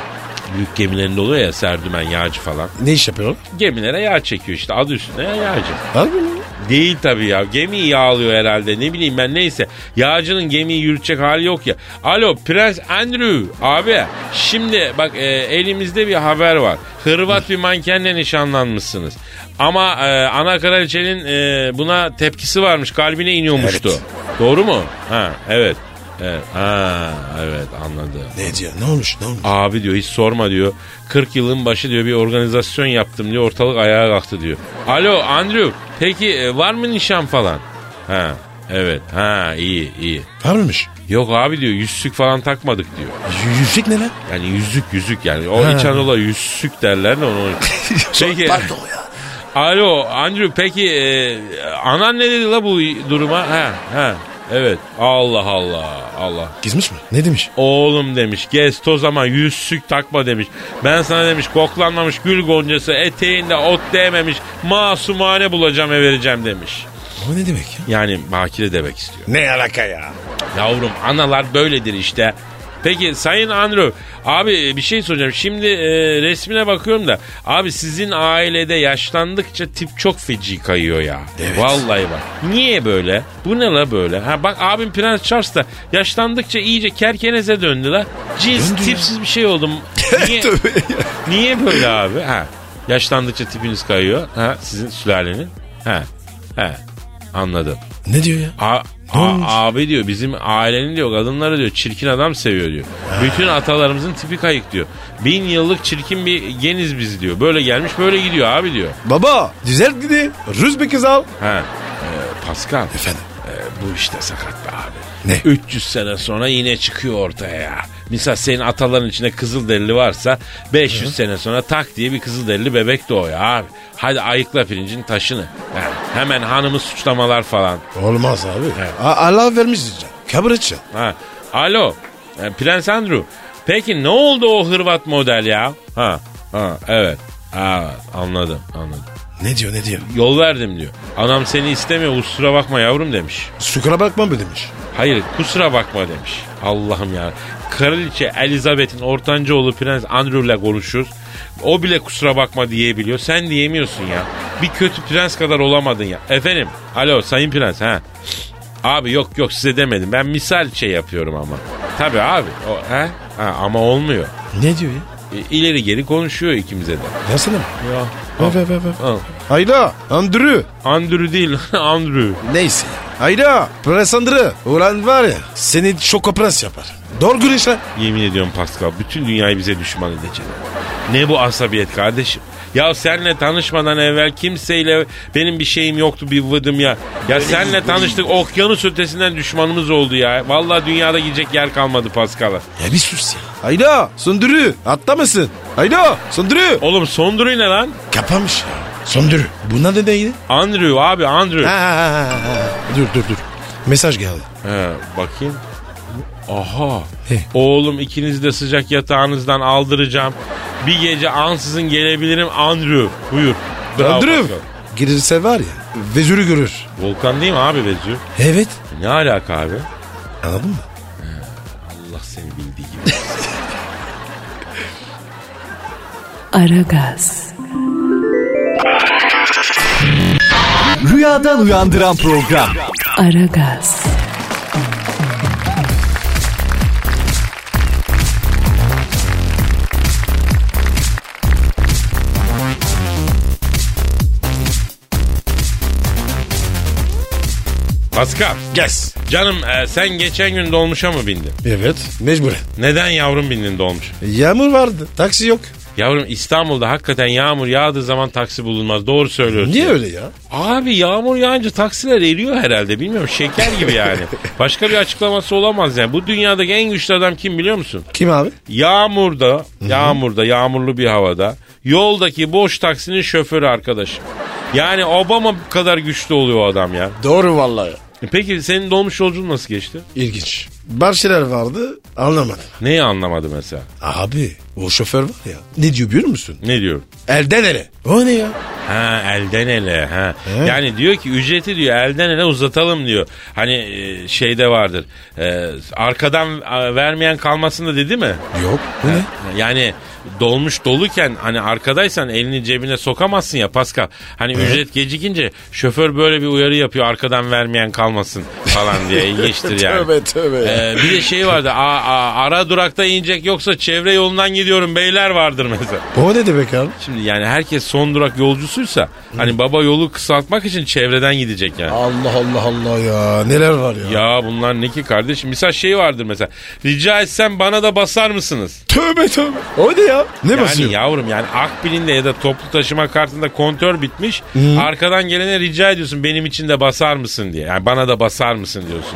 Speaker 3: Büyük gemilerinde oluyor ya serdümen yağcı falan.
Speaker 5: Ne iş yapıyor oğlum?
Speaker 3: Gemilere yağ çekiyor işte adı üstünde ya, yağcı.
Speaker 5: Harbi mi?
Speaker 3: Değil tabii ya gemiyi yağlıyor herhalde ne bileyim ben neyse. Yağcının gemiyi yürütecek hali yok ya. Alo Prens Andrew abi şimdi bak e, elimizde bir haber var. Hırvat bir mankenle nişanlanmışsınız. Ama e, ana kraliçenin e, buna tepkisi varmış kalbine iniyormuştu. Doğru mu? Ha evet. Evet. Ha, evet anladım.
Speaker 5: Ne diyor? Ne olmuş? Ne olmuş?
Speaker 3: Abi diyor hiç sorma diyor. 40 yılın başı diyor bir organizasyon yaptım diyor. Ortalık ayağa kalktı diyor. Alo Andrew peki e, var mı nişan falan? Ha evet ha iyi iyi.
Speaker 5: Var mıymış?
Speaker 3: Yok abi diyor yüzsük falan takmadık diyor.
Speaker 5: Y- yüzük ne lan?
Speaker 3: Yani yüzük yüzük yani. O İç Anadolu'da yüzsük derler de onu.
Speaker 5: Şey
Speaker 3: Peki.
Speaker 5: Pardon ya.
Speaker 3: Alo Andrew peki e, anan ne dedi la bu duruma? Ha ha. Evet. Allah Allah. Allah.
Speaker 5: Gizmiş mi? Ne demiş?
Speaker 3: Oğlum demiş gez toz ama yüzsük takma demiş. Ben sana demiş koklanmamış gül goncası eteğinde ot değmemiş masumane bulacağım ve vereceğim demiş.
Speaker 5: O ne demek ya?
Speaker 3: Yani bakire demek istiyor.
Speaker 5: Ne alaka ya?
Speaker 3: Yavrum analar böyledir işte. Peki Sayın Andrew abi bir şey soracağım. Şimdi e, resmine bakıyorum da abi sizin ailede yaşlandıkça tip çok feci kayıyor ya. Vallahi bak. Niye böyle? Bu ne la böyle? Ha bak abim Prens Charles da yaşlandıkça iyice kerkeneze döndü la. Cins
Speaker 5: Döndü ya.
Speaker 3: tipsiz bir şey oldum. Niye,
Speaker 5: Tövbe ya.
Speaker 3: niye böyle abi? Ha. Yaşlandıkça tipiniz kayıyor. Ha sizin sülalenin. Ha. Ha. Anladım.
Speaker 5: Ne diyor ya?
Speaker 3: A-
Speaker 5: Ne
Speaker 3: a-
Speaker 5: olmuş?
Speaker 3: abi diyor bizim ailenin diyor kadınları diyor çirkin adam seviyor diyor. Bütün atalarımızın tipi kayık diyor. Bin yıllık çirkin bir geniz biz diyor. Böyle gelmiş böyle gidiyor abi diyor.
Speaker 5: Baba düzelt gidi. Rüz bir kız al.
Speaker 3: Ha. Ee, Pascal.
Speaker 5: Efendim?
Speaker 3: e, bu işte sakat be abi.
Speaker 5: Ne?
Speaker 3: 300 sene sonra yine çıkıyor ortaya ya. Misal senin ataların içinde kızılderili varsa 500 sene sonra tak diye bir kızılderili bebek doğuyor abi. Hadi ayıkla pirincin taşını. Yani hemen hanımı suçlamalar falan.
Speaker 5: Olmaz abi.
Speaker 3: Evet.
Speaker 5: A- Allah vermiş diyeceğim. Kabır edeceğim.
Speaker 3: Ha. Alo. E, Prens Andrew. Peki ne oldu o Hırvat model ya? Ha. Ha evet. Ha, anladım anladım.
Speaker 5: Ne diyor ne diyor?
Speaker 3: Yol verdim diyor. Anam seni istemiyor kusura bakma yavrum demiş.
Speaker 5: Sukura bakma mı demiş?
Speaker 3: Hayır kusura bakma demiş. Allah'ım ya. Kraliçe Elizabeth'in ortanca oğlu Prens Andrew'la konuşur. O bile kusura bakma diyebiliyor. Sen diyemiyorsun ya. Bir kötü prens kadar olamadın ya. Efendim. Alo sayın prens ha. Abi yok yok size demedim. Ben misal şey yapıyorum ama. Tabii abi. O, he? Ha, ama olmuyor.
Speaker 5: Ne diyor ya?
Speaker 3: E, İleri geri konuşuyor ikimize de.
Speaker 5: Versene mi?
Speaker 3: Ya.
Speaker 5: Ver ver ver. ver.
Speaker 3: Al.
Speaker 5: Hayda Andrew.
Speaker 3: Andrew değil Andrew.
Speaker 5: Neyse. Hayda Prens Andrew. Ulan var ya seni şoko prens yapar. Doğru gün işler.
Speaker 3: Yemin ediyorum Pascal bütün dünyayı bize düşman edecek. Ne bu asabiyet kardeşim? Ya senle tanışmadan evvel kimseyle benim bir şeyim yoktu bir vıdım ya. Ya senle tanıştık okyanus ötesinden düşmanımız oldu ya. Vallahi dünyada gidecek yer kalmadı Pascal'a.
Speaker 5: Ya bir sus ya. Hayda Sundürü atlamasın. Hayda Sundürü.
Speaker 3: Oğlum Sondru ne lan?
Speaker 5: Kapamış ya. Sundürü. Buna ne değdi?
Speaker 3: Andrew abi Andrew.
Speaker 5: Ha, ha, ha, ha, ha. Dur dur dur. Mesaj geldi.
Speaker 3: He, bakayım. Aha.
Speaker 5: He.
Speaker 3: Oğlum ikinizi de sıcak yatağınızdan aldıracağım. Bir gece ansızın gelebilirim Andrew. Buyur. Bravo
Speaker 5: Andrew.
Speaker 3: Pascal.
Speaker 5: Girirse var ya vezürü görür.
Speaker 3: Volkan değil mi abi Vezü?
Speaker 5: Evet.
Speaker 3: Ne alaka abi?
Speaker 5: Anladın mı?
Speaker 3: Allah seni bildiği gibi.
Speaker 2: Aragaz,
Speaker 4: Rüyadan uyandıran program.
Speaker 2: Aragaz,
Speaker 3: Pascal.
Speaker 5: Yes.
Speaker 3: Canım e, sen geçen gün dolmuşa mı bindin?
Speaker 5: Evet. Mecburen.
Speaker 3: Neden yavrum bindin dolmuş?
Speaker 5: Yağmur vardı. Taksi yok.
Speaker 3: Yavrum İstanbul'da hakikaten yağmur yağdığı zaman taksi bulunmaz. Doğru söylüyorsun.
Speaker 5: Niye öyle ya?
Speaker 3: Abi yağmur yağınca taksiler eriyor herhalde. Bilmiyorum şeker gibi yani. Başka bir açıklaması olamaz yani. Bu dünyadaki en güçlü adam kim biliyor musun?
Speaker 5: Kim abi?
Speaker 3: Yağmurda, yağmurda, yağmurlu bir havada yoldaki boş taksinin şoförü arkadaşım. Yani Obama kadar güçlü oluyor o adam ya.
Speaker 5: Doğru vallahi.
Speaker 3: E Peki senin dolmuş yolculuğun nasıl geçti?
Speaker 5: İlginç. Bazı şeyler vardı anlamadım.
Speaker 3: Neyi anlamadı mesela?
Speaker 5: Abi o şoför var ya. Ne diyor biliyor musun?
Speaker 3: Ne diyorum?
Speaker 5: Elden ele. O ne ya?
Speaker 3: Ha elden ele ha.
Speaker 5: He.
Speaker 3: Yani diyor ki ücreti diyor elden ele uzatalım diyor. Hani e, şeyde vardır. E, arkadan e, vermeyen kalmasın da dedi mi?
Speaker 5: Yok. Bu ne?
Speaker 3: Yani dolmuş doluken hani arkadaysan elini cebine sokamazsın ya Pascal. Hani ücret gecikince şoför böyle bir uyarı yapıyor arkadan vermeyen kalmasın falan diye ilginçtir yani. E,
Speaker 5: Tövbe tövbe ya.
Speaker 3: Ee, bir de şey vardı a, a- ara durakta inecek yoksa çevre yolundan gidiyor gidiyorum beyler vardır mesela.
Speaker 5: O ne demek abi?
Speaker 3: Şimdi yani herkes son durak yolcusuysa hani baba yolu kısaltmak için çevreden gidecek yani.
Speaker 5: Allah Allah Allah ya. Neler var ya?
Speaker 3: Ya bunlar ne ki kardeşim? Misal şey vardır mesela. Rica etsem bana da basar mısınız?
Speaker 5: Tövbe tövbe. O ne ya? Ne basıyor?
Speaker 3: Yani yavrum yani Akbil'inde ya da toplu taşıma kartında kontör bitmiş. Arkadan gelene rica ediyorsun benim için de basar mısın diye. Yani bana da basar mısın diyorsun.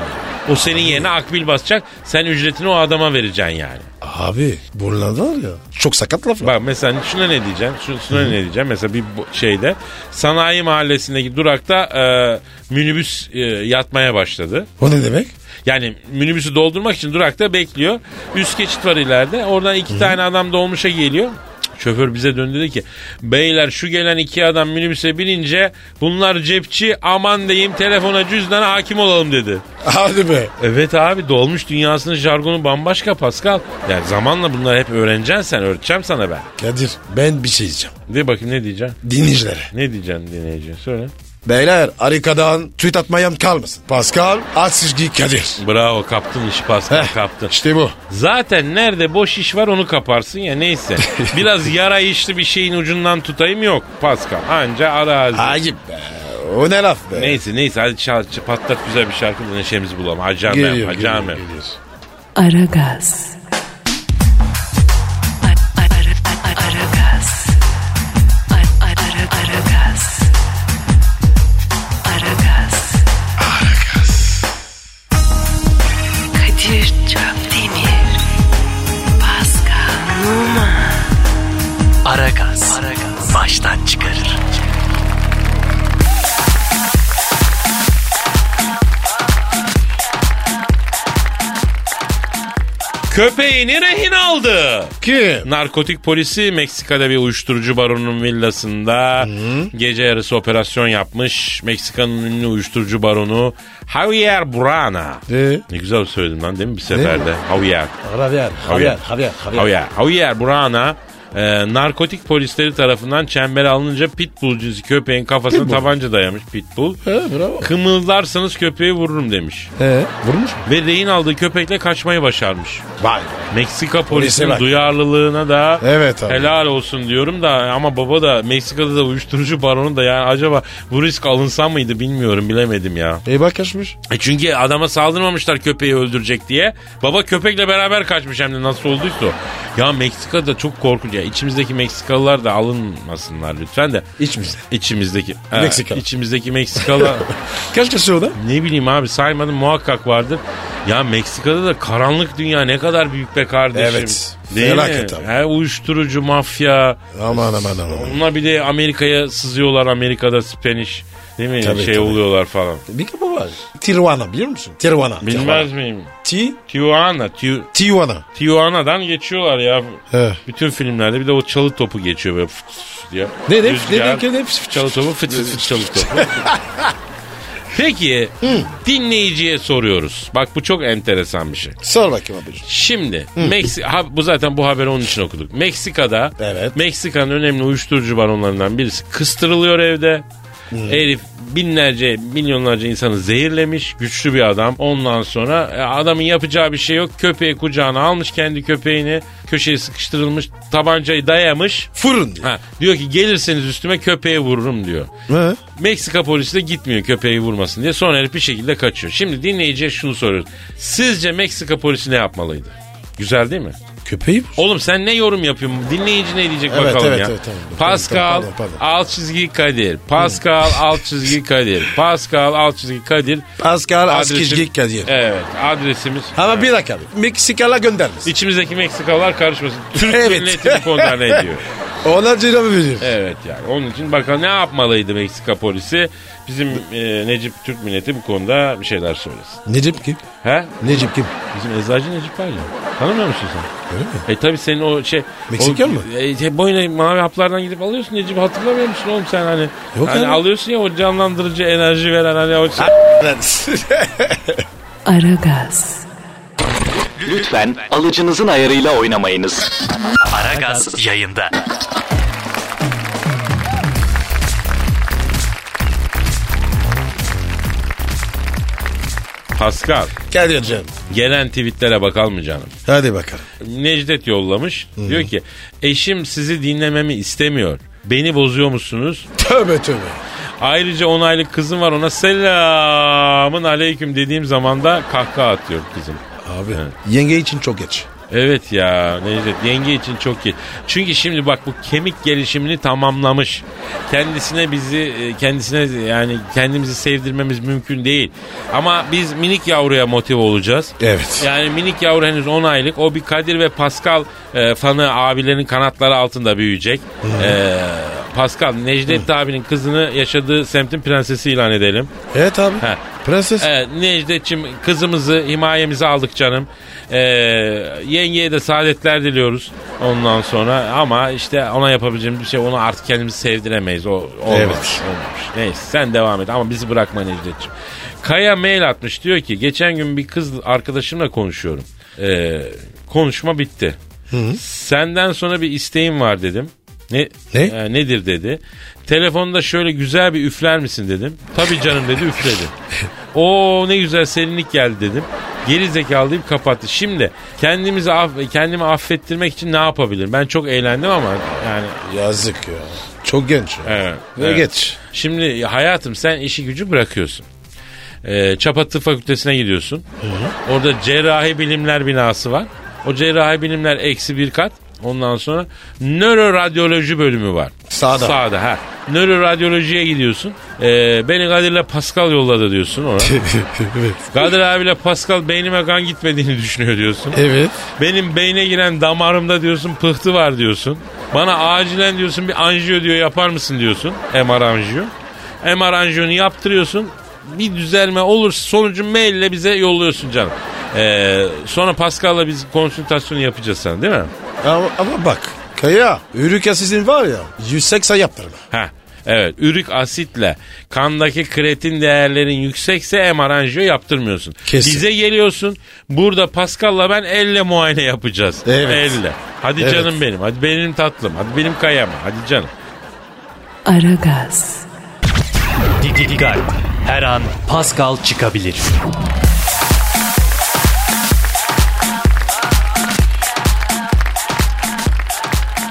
Speaker 3: O senin yerine Akbil basacak. Sen ücretini o adama vereceksin yani.
Speaker 5: Abi bunlar var ya. Çok sakat laf ya.
Speaker 3: Bak mesela şuna ne diyeceğim? Şu- Şuna ne diyeceğim? Mesela bir bu- şeyde sanayi mahallesindeki durakta e, minibüs e, yatmaya başladı.
Speaker 5: O ne demek?
Speaker 3: Yani minibüsü doldurmak için durakta bekliyor. Üst geçit var ileride. Oradan iki tane adam dolmuşa geliyor. Cık, Şoför bize döndü dedi ki beyler şu gelen iki adam minibüse binince bunlar cepçi aman deyim telefona cüzdana hakim olalım dedi.
Speaker 5: Hadi be.
Speaker 3: Evet abi dolmuş dünyasının jargonu bambaşka Pascal. Yani zamanla bunları hep öğreneceksin sen öğreteceğim sana ben.
Speaker 5: Kadir ben bir şey diyeceğim.
Speaker 3: De bakayım ne diyeceksin?
Speaker 5: Dinleyicilere.
Speaker 3: Ne diyeceksin dinleyiciye söyle.
Speaker 5: Beyler harikadan tweet atmayan kalmasın. Pascal Atsizgi Kadir.
Speaker 3: Bravo kaptın işi Pascal
Speaker 5: Heh,
Speaker 3: kaptın.
Speaker 5: İşte bu.
Speaker 3: Zaten nerede boş iş var onu kaparsın ya neyse. Biraz yara işli bir şeyin ucundan tutayım yok Pascal. Anca arazi.
Speaker 5: Ayıp be. O ne laf be.
Speaker 3: Neyse neyse hadi çal, çal- patlat güzel bir şarkı da neşemizi bulalım. Hacamem hacamem.
Speaker 2: Aragaz. Aragaz. Aragaz. Aragaz. Kadir Çöptemir. Pascal Numa.
Speaker 4: Aragaz. Baştan çıkarır.
Speaker 3: Köpeğini rehin aldı.
Speaker 5: Kim?
Speaker 3: Narkotik polisi Meksika'da bir uyuşturucu baronunun villasında gece yarısı operasyon yapmış. Meksika'nın ünlü uyuşturucu baronu Javier Burana.
Speaker 5: Ee?
Speaker 3: Ne güzel söyledim lan değil mi bir seferde? Javier.
Speaker 4: Javier,
Speaker 3: Javier,
Speaker 4: Javier,
Speaker 3: Javier. Javier Burana e, narkotik polisleri tarafından çembere alınınca pitbull cinsi köpeğin kafasına tabanca dayamış pitbull.
Speaker 5: He bravo.
Speaker 3: Kımıldarsanız köpeği vururum demiş.
Speaker 5: He vurmuş mu?
Speaker 3: Ve rehin aldığı köpekle kaçmayı başarmış.
Speaker 5: Vay be.
Speaker 3: Meksika
Speaker 5: Polise
Speaker 3: polisinin
Speaker 5: bak.
Speaker 3: duyarlılığına da
Speaker 5: Evet abi.
Speaker 3: helal olsun diyorum da ama baba da Meksika'da da uyuşturucu baronu da yani acaba bu risk alınsa mıydı bilmiyorum bilemedim ya.
Speaker 5: E bak kaçmış.
Speaker 3: E çünkü adama saldırmamışlar köpeği öldürecek diye. Baba köpekle beraber kaçmış hem de nasıl olduysa. o. Ya Meksika'da çok korkunç ya. İçimizdeki Meksikalılar da alınmasınlar lütfen de.
Speaker 5: İçmişler.
Speaker 3: İçimizdeki.
Speaker 5: Meksikalı.
Speaker 3: içimizdeki Meksikalı.
Speaker 5: Kaç kaçıyor o da?
Speaker 3: ne bileyim abi saymadım muhakkak vardır. Ya Meksika'da da karanlık dünya ne kadar büyük be kardeşim.
Speaker 5: Evet.
Speaker 3: Değil
Speaker 5: Felaket
Speaker 3: mi?
Speaker 5: abi.
Speaker 3: He, uyuşturucu, mafya.
Speaker 5: Aman aman aman.
Speaker 3: Onlar bir de Amerika'ya sızıyorlar. Amerika'da Spanish. Değil mi?
Speaker 5: Tabii,
Speaker 3: şey
Speaker 5: tabii.
Speaker 3: oluyorlar falan.
Speaker 5: Bir kapı var. Tijuana biliyor musun? Tijuana.
Speaker 3: Bilmez miyim?
Speaker 5: Ti
Speaker 3: Tijuana. Tijuana.
Speaker 5: Tijuana.
Speaker 3: Tijuana'dan geçiyorlar ya.
Speaker 5: He.
Speaker 3: Bütün filmlerde bir de o çalı topu geçiyor böyle fıs fıs diye.
Speaker 5: Ne ne
Speaker 3: Rüzgar,
Speaker 5: ne ne ne
Speaker 3: Çalı topu fıt fıt fıt çalı topu. Peki dinleyiciye soruyoruz. Bak bu çok enteresan bir şey.
Speaker 5: Sor bakayım abi.
Speaker 3: Şimdi Meksi ha, bu zaten bu haberi onun için okuduk. Meksika'da
Speaker 5: Evet.
Speaker 3: Meksika'nın önemli uyuşturucu baronlarından birisi kıstırılıyor evde. Herif binlerce milyonlarca insanı zehirlemiş güçlü bir adam. Ondan sonra e, adamın yapacağı bir şey yok. Köpeği kucağına almış kendi köpeğini köşeye sıkıştırılmış tabancayı dayamış.
Speaker 5: Fırın.
Speaker 3: Ha, diyor ki gelirseniz üstüme köpeği vururum diyor.
Speaker 5: He.
Speaker 3: Meksika polisi de gitmiyor köpeği vurmasın diye. Sonra herif bir şekilde kaçıyor. Şimdi dinleyiciye şunu soruyoruz. Sizce Meksika polisi ne yapmalıydı? Güzel değil mi?
Speaker 5: Köpeği
Speaker 3: Oğlum sen ne yorum yapıyorsun? Dinleyici ne diyecek
Speaker 5: Evet,
Speaker 3: bakalım
Speaker 5: evet,
Speaker 3: ya.
Speaker 5: evet, tamam.
Speaker 3: Pascal
Speaker 5: Pardon, pardon,
Speaker 3: alt çizgi Kadir. Pascal
Speaker 5: Hmm.
Speaker 3: alt çizgi Kadir. Pascal alt çizgi Kadir.
Speaker 5: Pascal
Speaker 3: Adresim-
Speaker 5: Askizgi Kadir.
Speaker 3: Evet adresimiz.
Speaker 5: Ama bir dakika abi. Meksikala göndermiş.
Speaker 3: İçimizdeki Meksikalılar karışmasın. Türk
Speaker 5: Evet.
Speaker 3: milleti bu konuda ne diyor?
Speaker 5: Ona cevap veriyor.
Speaker 3: Evet yani onun için bakalım ne yapmalıydı Meksika polisi? Bizim e, Necip Türk milleti bu konuda bir şeyler söylesin.
Speaker 5: Necip kim?
Speaker 3: He?
Speaker 5: Necip kim?
Speaker 3: Bizim eczacı Necip var ya. Tanımıyor musun sen?
Speaker 5: Öyle mi?
Speaker 3: E tabi senin o şey...
Speaker 5: Meksikan
Speaker 3: o-
Speaker 5: mı?
Speaker 3: E, te- boyuna mavi haplardan gidip alıyorsun Necip hatırlamıyor musun oğlum sen hani?
Speaker 5: Yok
Speaker 3: hani
Speaker 5: abi.
Speaker 3: alıyorsun ya o canlandırıcı enerji veren hani o...
Speaker 2: Aragaz.
Speaker 4: Lütfen alıcınızın ayarıyla oynamayınız. Aragaz yayında.
Speaker 3: Pascal
Speaker 5: Kadir canım.
Speaker 3: gelen tweetlere bakalım mı canım?
Speaker 5: Hadi bakalım.
Speaker 3: Necdet yollamış. Diyor ki eşim sizi dinlememi istemiyor. Beni bozuyor musunuz?
Speaker 5: Tövbe tövbe.
Speaker 3: Ayrıca 10 aylık kızım var ona selamın aleyküm dediğim zaman da kahkaha atıyor kızım.
Speaker 5: Abi yenge için çok geç.
Speaker 3: Evet ya Necdet yenge için çok iyi. Çünkü şimdi bak bu kemik gelişimini tamamlamış. Kendisine bizi e, kendisine yani kendimizi sevdirmemiz mümkün değil. Ama biz minik yavruya motive olacağız.
Speaker 5: Evet.
Speaker 3: Yani minik yavru henüz 10 aylık. O bir Kadir ve Pascal e, fanı abilerin kanatları altında büyüyecek. E, Pascal Necdet abinin kızını yaşadığı semtin prensesi ilan edelim.
Speaker 5: Evet abi.
Speaker 3: Ha.
Speaker 5: Prenses.
Speaker 3: Evet Necdet'ciğim E, kızımızı himayemize aldık canım. Ee, yengeye de saadetler diliyoruz ondan sonra. Ama işte ona yapabileceğimiz bir şey onu artık kendimizi sevdiremeyiz. O, olmamış,
Speaker 5: Evet.
Speaker 3: olmamış. Neyse sen devam et ama bizi bırakma Necdet'ciğim. Kaya mail atmış diyor ki geçen gün bir kız arkadaşımla konuşuyorum. Ee, konuşma bitti. Senden sonra bir isteğim var dedim. Ne?
Speaker 5: Ne?
Speaker 3: Ee, nedir dedi. Telefonda şöyle güzel bir üfler misin dedim. Tabii canım dedi üfledi. Oo ne güzel serinlik geldi dedim. Geri zekalı deyip kapattı. Şimdi kendimizi aff- kendimi affettirmek için ne yapabilirim? Ben çok eğlendim ama yani
Speaker 5: Yazık ya. Çok genç. ya.
Speaker 3: evet,
Speaker 5: Ve
Speaker 3: evet.
Speaker 5: geç.
Speaker 3: Şimdi hayatım sen işi gücü bırakıyorsun. Ee, Çapa Tıp Fakültesine gidiyorsun. Orada cerrahi bilimler binası var. O cerrahi bilimler eksi bir kat. Ondan sonra nöroradyoloji bölümü var.
Speaker 5: Sağda.
Speaker 3: Sağda ha. Nöroradyolojiye gidiyorsun. Ee, beni Kadir'le Pascal yolladı diyorsun ona.
Speaker 5: evet.
Speaker 3: Kadir abiyle Pascal beynime kan gitmediğini düşünüyor diyorsun.
Speaker 5: Evet.
Speaker 3: Benim beyne giren damarımda diyorsun pıhtı var diyorsun. Bana acilen diyorsun bir anjiyo diyor yapar mısın diyorsun. MR anjiyo. MR anjiyonu yaptırıyorsun. Bir düzelme olursa sonucu maille bize yolluyorsun canım. Ee, sonra Pascal'la biz konsültasyonu yapacağız sana değil mi?
Speaker 5: Ama, ama bak. Kaya. Ürük asistin var ya. 180 yaptırma.
Speaker 3: Ha. Evet ürik asitle kandaki kreatin değerlerin yüksekse MR anjiyo yaptırmıyorsun.
Speaker 5: Kesin.
Speaker 3: Bize geliyorsun burada Pascal'la ben elle muayene yapacağız.
Speaker 5: Evet.
Speaker 3: Elle. Hadi
Speaker 5: Evet.
Speaker 3: canım benim hadi benim tatlım hadi benim kayam hadi canım.
Speaker 2: Aragaz,
Speaker 4: Didi Dikkat. Her an Pascal çıkabilir.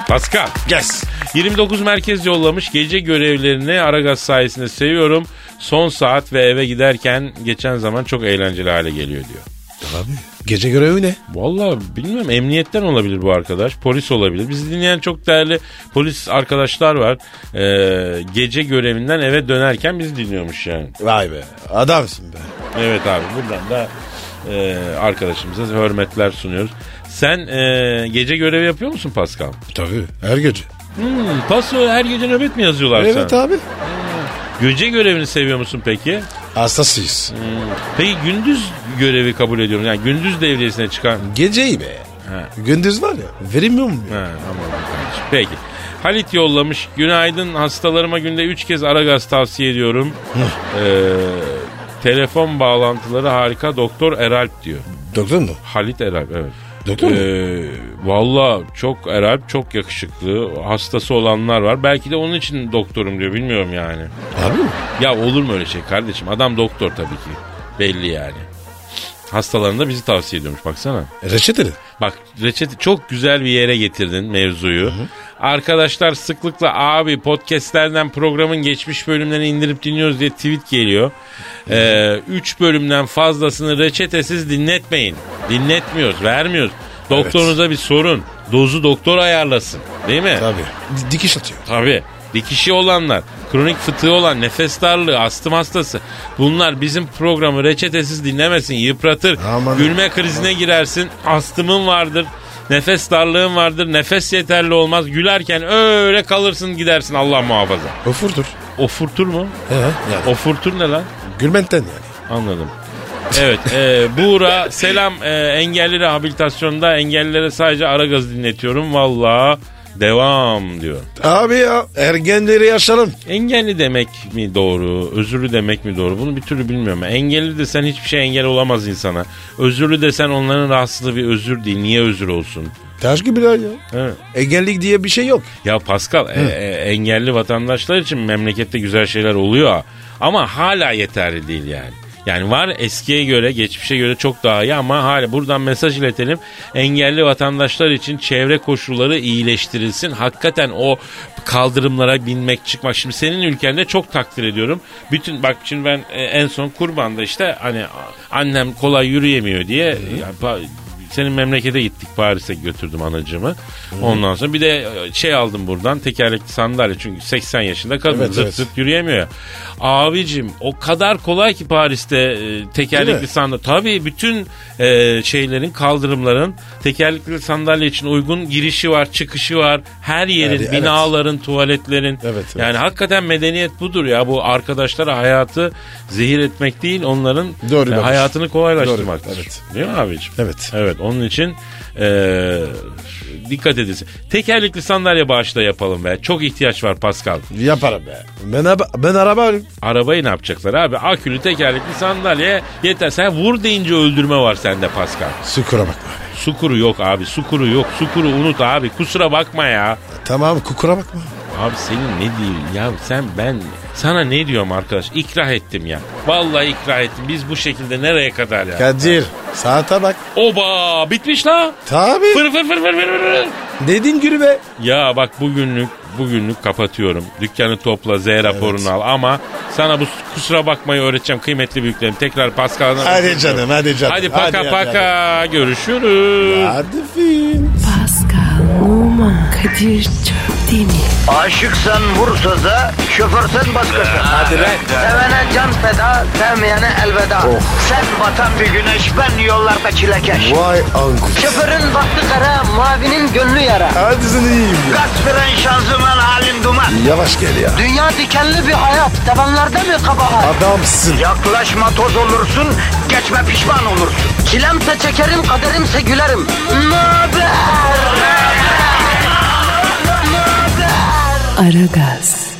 Speaker 3: Pascal
Speaker 5: Yes.
Speaker 3: 29 merkez yollamış gece görevlerini Aragaz sayesinde seviyorum. Son saat ve eve giderken geçen zaman çok eğlenceli hale geliyor diyor.
Speaker 5: Abi. Gece görevi ne?
Speaker 3: Vallahi bilmiyorum emniyetten olabilir bu arkadaş. Polis olabilir. Bizi dinleyen çok değerli polis arkadaşlar var. Ee, gece görevinden eve dönerken bizi dinliyormuş yani.
Speaker 5: Vay be. Adamsın be.
Speaker 3: Evet abi buradan da e, arkadaşımıza hürmetler sunuyoruz. Sen e, gece görevi yapıyor musun Pascal?
Speaker 5: Tabii. Her gece.
Speaker 3: Hmm, paso her gece nöbet mi yazıyorlar sana?
Speaker 5: Evet abi.
Speaker 3: Gece görevini seviyor musun peki?
Speaker 5: Hastasıyız.
Speaker 3: Peki gündüz görevi kabul ediyorum. Yani gündüz devriyesine çıkan...
Speaker 5: Geceyi be.
Speaker 3: Ha.
Speaker 5: Gündüz var ya. Veremiyor mu?
Speaker 3: Ha, aman kardeşim. Peki. Halit yollamış. Günaydın hastalarıma günde 3 kez Aragaz tavsiye ediyorum. Ee, telefon bağlantıları harika. Doktor Eralp diyor.
Speaker 5: Doktor mu?
Speaker 3: Halit Eralp evet.
Speaker 5: Doktor mu?
Speaker 3: Ee, Valla çok Eralp çok yakışıklı. Hastası olanlar var. Belki de onun için doktorum diyor. Bilmiyorum yani.
Speaker 5: Abi mi?
Speaker 3: Ya olur mu öyle şey kardeşim? Adam doktor tabii ki. Belli yani. Hastalarında bizi tavsiye ediyormuş baksana.
Speaker 5: Reçeteli.
Speaker 3: Bak reçete çok güzel bir yere getirdin mevzuyu. Arkadaşlar sıklıkla abi podcastlerden programın geçmiş bölümlerini indirip dinliyoruz diye tweet geliyor. 3 bölümden fazlasını reçetesiz dinletmeyin. Dinletmiyoruz, vermiyoruz. Doktorunuza bir sorun. Dozu doktor ayarlasın. Değil mi?
Speaker 5: Tabii. Di- Dikiş atıyor.
Speaker 3: Tabii. Dikişi olanlar, kronik fıtığı olan, nefes darlığı, astım hastası. Bunlar bizim programı reçetesiz dinlemesin, yıpratır.
Speaker 5: Aman.
Speaker 3: Gülme krizine girersin, astımın vardır. Nefes darlığın vardır, nefes yeterli olmaz. Gülerken öyle kalırsın gidersin Allah muhafaza.
Speaker 5: Ofurdur.
Speaker 3: Ofurtur mu?
Speaker 5: He, yani.
Speaker 3: Ofurtur ne lan?
Speaker 5: Gülmenten yani.
Speaker 3: Anladım. Evet, e, Buğra selam e, engelli rehabilitasyonda engellilere sadece ara gaz dinletiyorum. Valla devam diyor.
Speaker 5: Abi ya ergenleri yaşarım.
Speaker 3: Engelli demek mi doğru, özürlü demek mi doğru bunu bir türlü bilmiyorum. Engelli desen hiçbir şey engel olamaz insana. Özürlü desen onların rahatsızlığı bir özür değil. Niye özür olsun?
Speaker 5: Taş gibiler ya.
Speaker 3: Evet.
Speaker 5: Egenlik diye bir şey yok.
Speaker 3: Ya Pascal e- e- engelli vatandaşlar için memlekette güzel şeyler oluyor ama hala yeterli değil yani. Yani var eskiye göre geçmişe göre çok daha iyi ama hala buradan mesaj iletelim. Engelli vatandaşlar için çevre koşulları iyileştirilsin. Hakikaten o kaldırımlara binmek çıkmak. Şimdi senin ülkende çok takdir ediyorum. Bütün bak şimdi ben e, en son kurbanda işte hani annem kolay yürüyemiyor diye yani pa- senin memlekete gittik Paris'e götürdüm anacığımı. Ondan sonra bir de e, şey aldım buradan tekerlekli sandalye çünkü 80 yaşında kadın
Speaker 5: Evet,
Speaker 3: zırt
Speaker 5: evet.
Speaker 3: zırt yürüyemiyor. ya. Abicim o kadar kolay ki Paris'te e,
Speaker 5: Değil mi?
Speaker 3: tekerlekli sandalye. Tabii bütün e, şeylerin kaldırımların tekerlekli sandalye için uygun girişi var çıkışı var. Her yerin
Speaker 5: Yani, evet.
Speaker 3: binaların tuvaletlerin.
Speaker 5: Evet, evet.
Speaker 3: Yani hakikaten medeniyet budur ya bu arkadaşlara hayatı zehir etmek değil onların
Speaker 5: Doğru
Speaker 3: e,
Speaker 5: bakış.
Speaker 3: hayatını kolaylaştırmak.
Speaker 5: Doğru, evet.
Speaker 3: Değil mi abicim?
Speaker 5: Evet.
Speaker 3: Evet onun için eee, dikkat edilsin. Tekerlekli sandalye bağışı da yapalım be. Çok ihtiyaç var Pascal.
Speaker 5: Yaparım be. Ben, araba- ben araba alayım.
Speaker 3: Arabayı ne yapacaklar abi? Akülü tekerlekli sandalye yeter. Sen vur deyince öldürme var sende Pascal.
Speaker 5: Sukura bakma. abi.
Speaker 3: Sukuru yok abi. Sukuru yok. Sukuru unut abi. Kusura bakma ya.
Speaker 5: Tamam kukura bakma.
Speaker 3: Abi senin ne diyeyim ya sen ben sana ne diyorum arkadaş ikrah ettim ya. Vallahi ikrah ettim biz bu şekilde nereye kadar ya.
Speaker 5: Kadir saate bak.
Speaker 3: Oba bitmiş la.
Speaker 5: Tabii.
Speaker 3: Fır fır fır fır fır fır.
Speaker 5: Dediğin gibi be.
Speaker 3: Ya bak bugünlük bugünlük kapatıyorum. Dükkanı topla Z raporunu al ama sana bu kusura bakmayı öğreteceğim kıymetli büyüklerim. Tekrar Pascal'dan.
Speaker 5: Hadi canım hadi canım.
Speaker 3: Hadi paka
Speaker 5: hadi,
Speaker 3: paka
Speaker 5: Hadi,
Speaker 3: görüşürüz.
Speaker 5: hadi. film.
Speaker 2: Pascal, Oman, Kadir çok değil mi?
Speaker 1: Aşıksan vursa da şoförsen başkasın. Hadi Sevene can feda, sevmeyene elveda. Sen batan bir güneş, ben yollarda çilekeş.
Speaker 5: Vay anku.
Speaker 1: Şoförün baktı kara, mavinin gönlü yara.
Speaker 5: Hadi sen iyiyim ya.
Speaker 1: Kasperen şanzıman halin duman.
Speaker 5: Yavaş gel ya.
Speaker 1: Dünya dikenli bir hayat, sevenlerde mi kabahar?
Speaker 5: Adamsın.
Speaker 1: Yaklaşma toz olursun, geçme pişman olursun. Çilemse çekerim, kaderimse gülerim. Möber!
Speaker 2: Aragaz.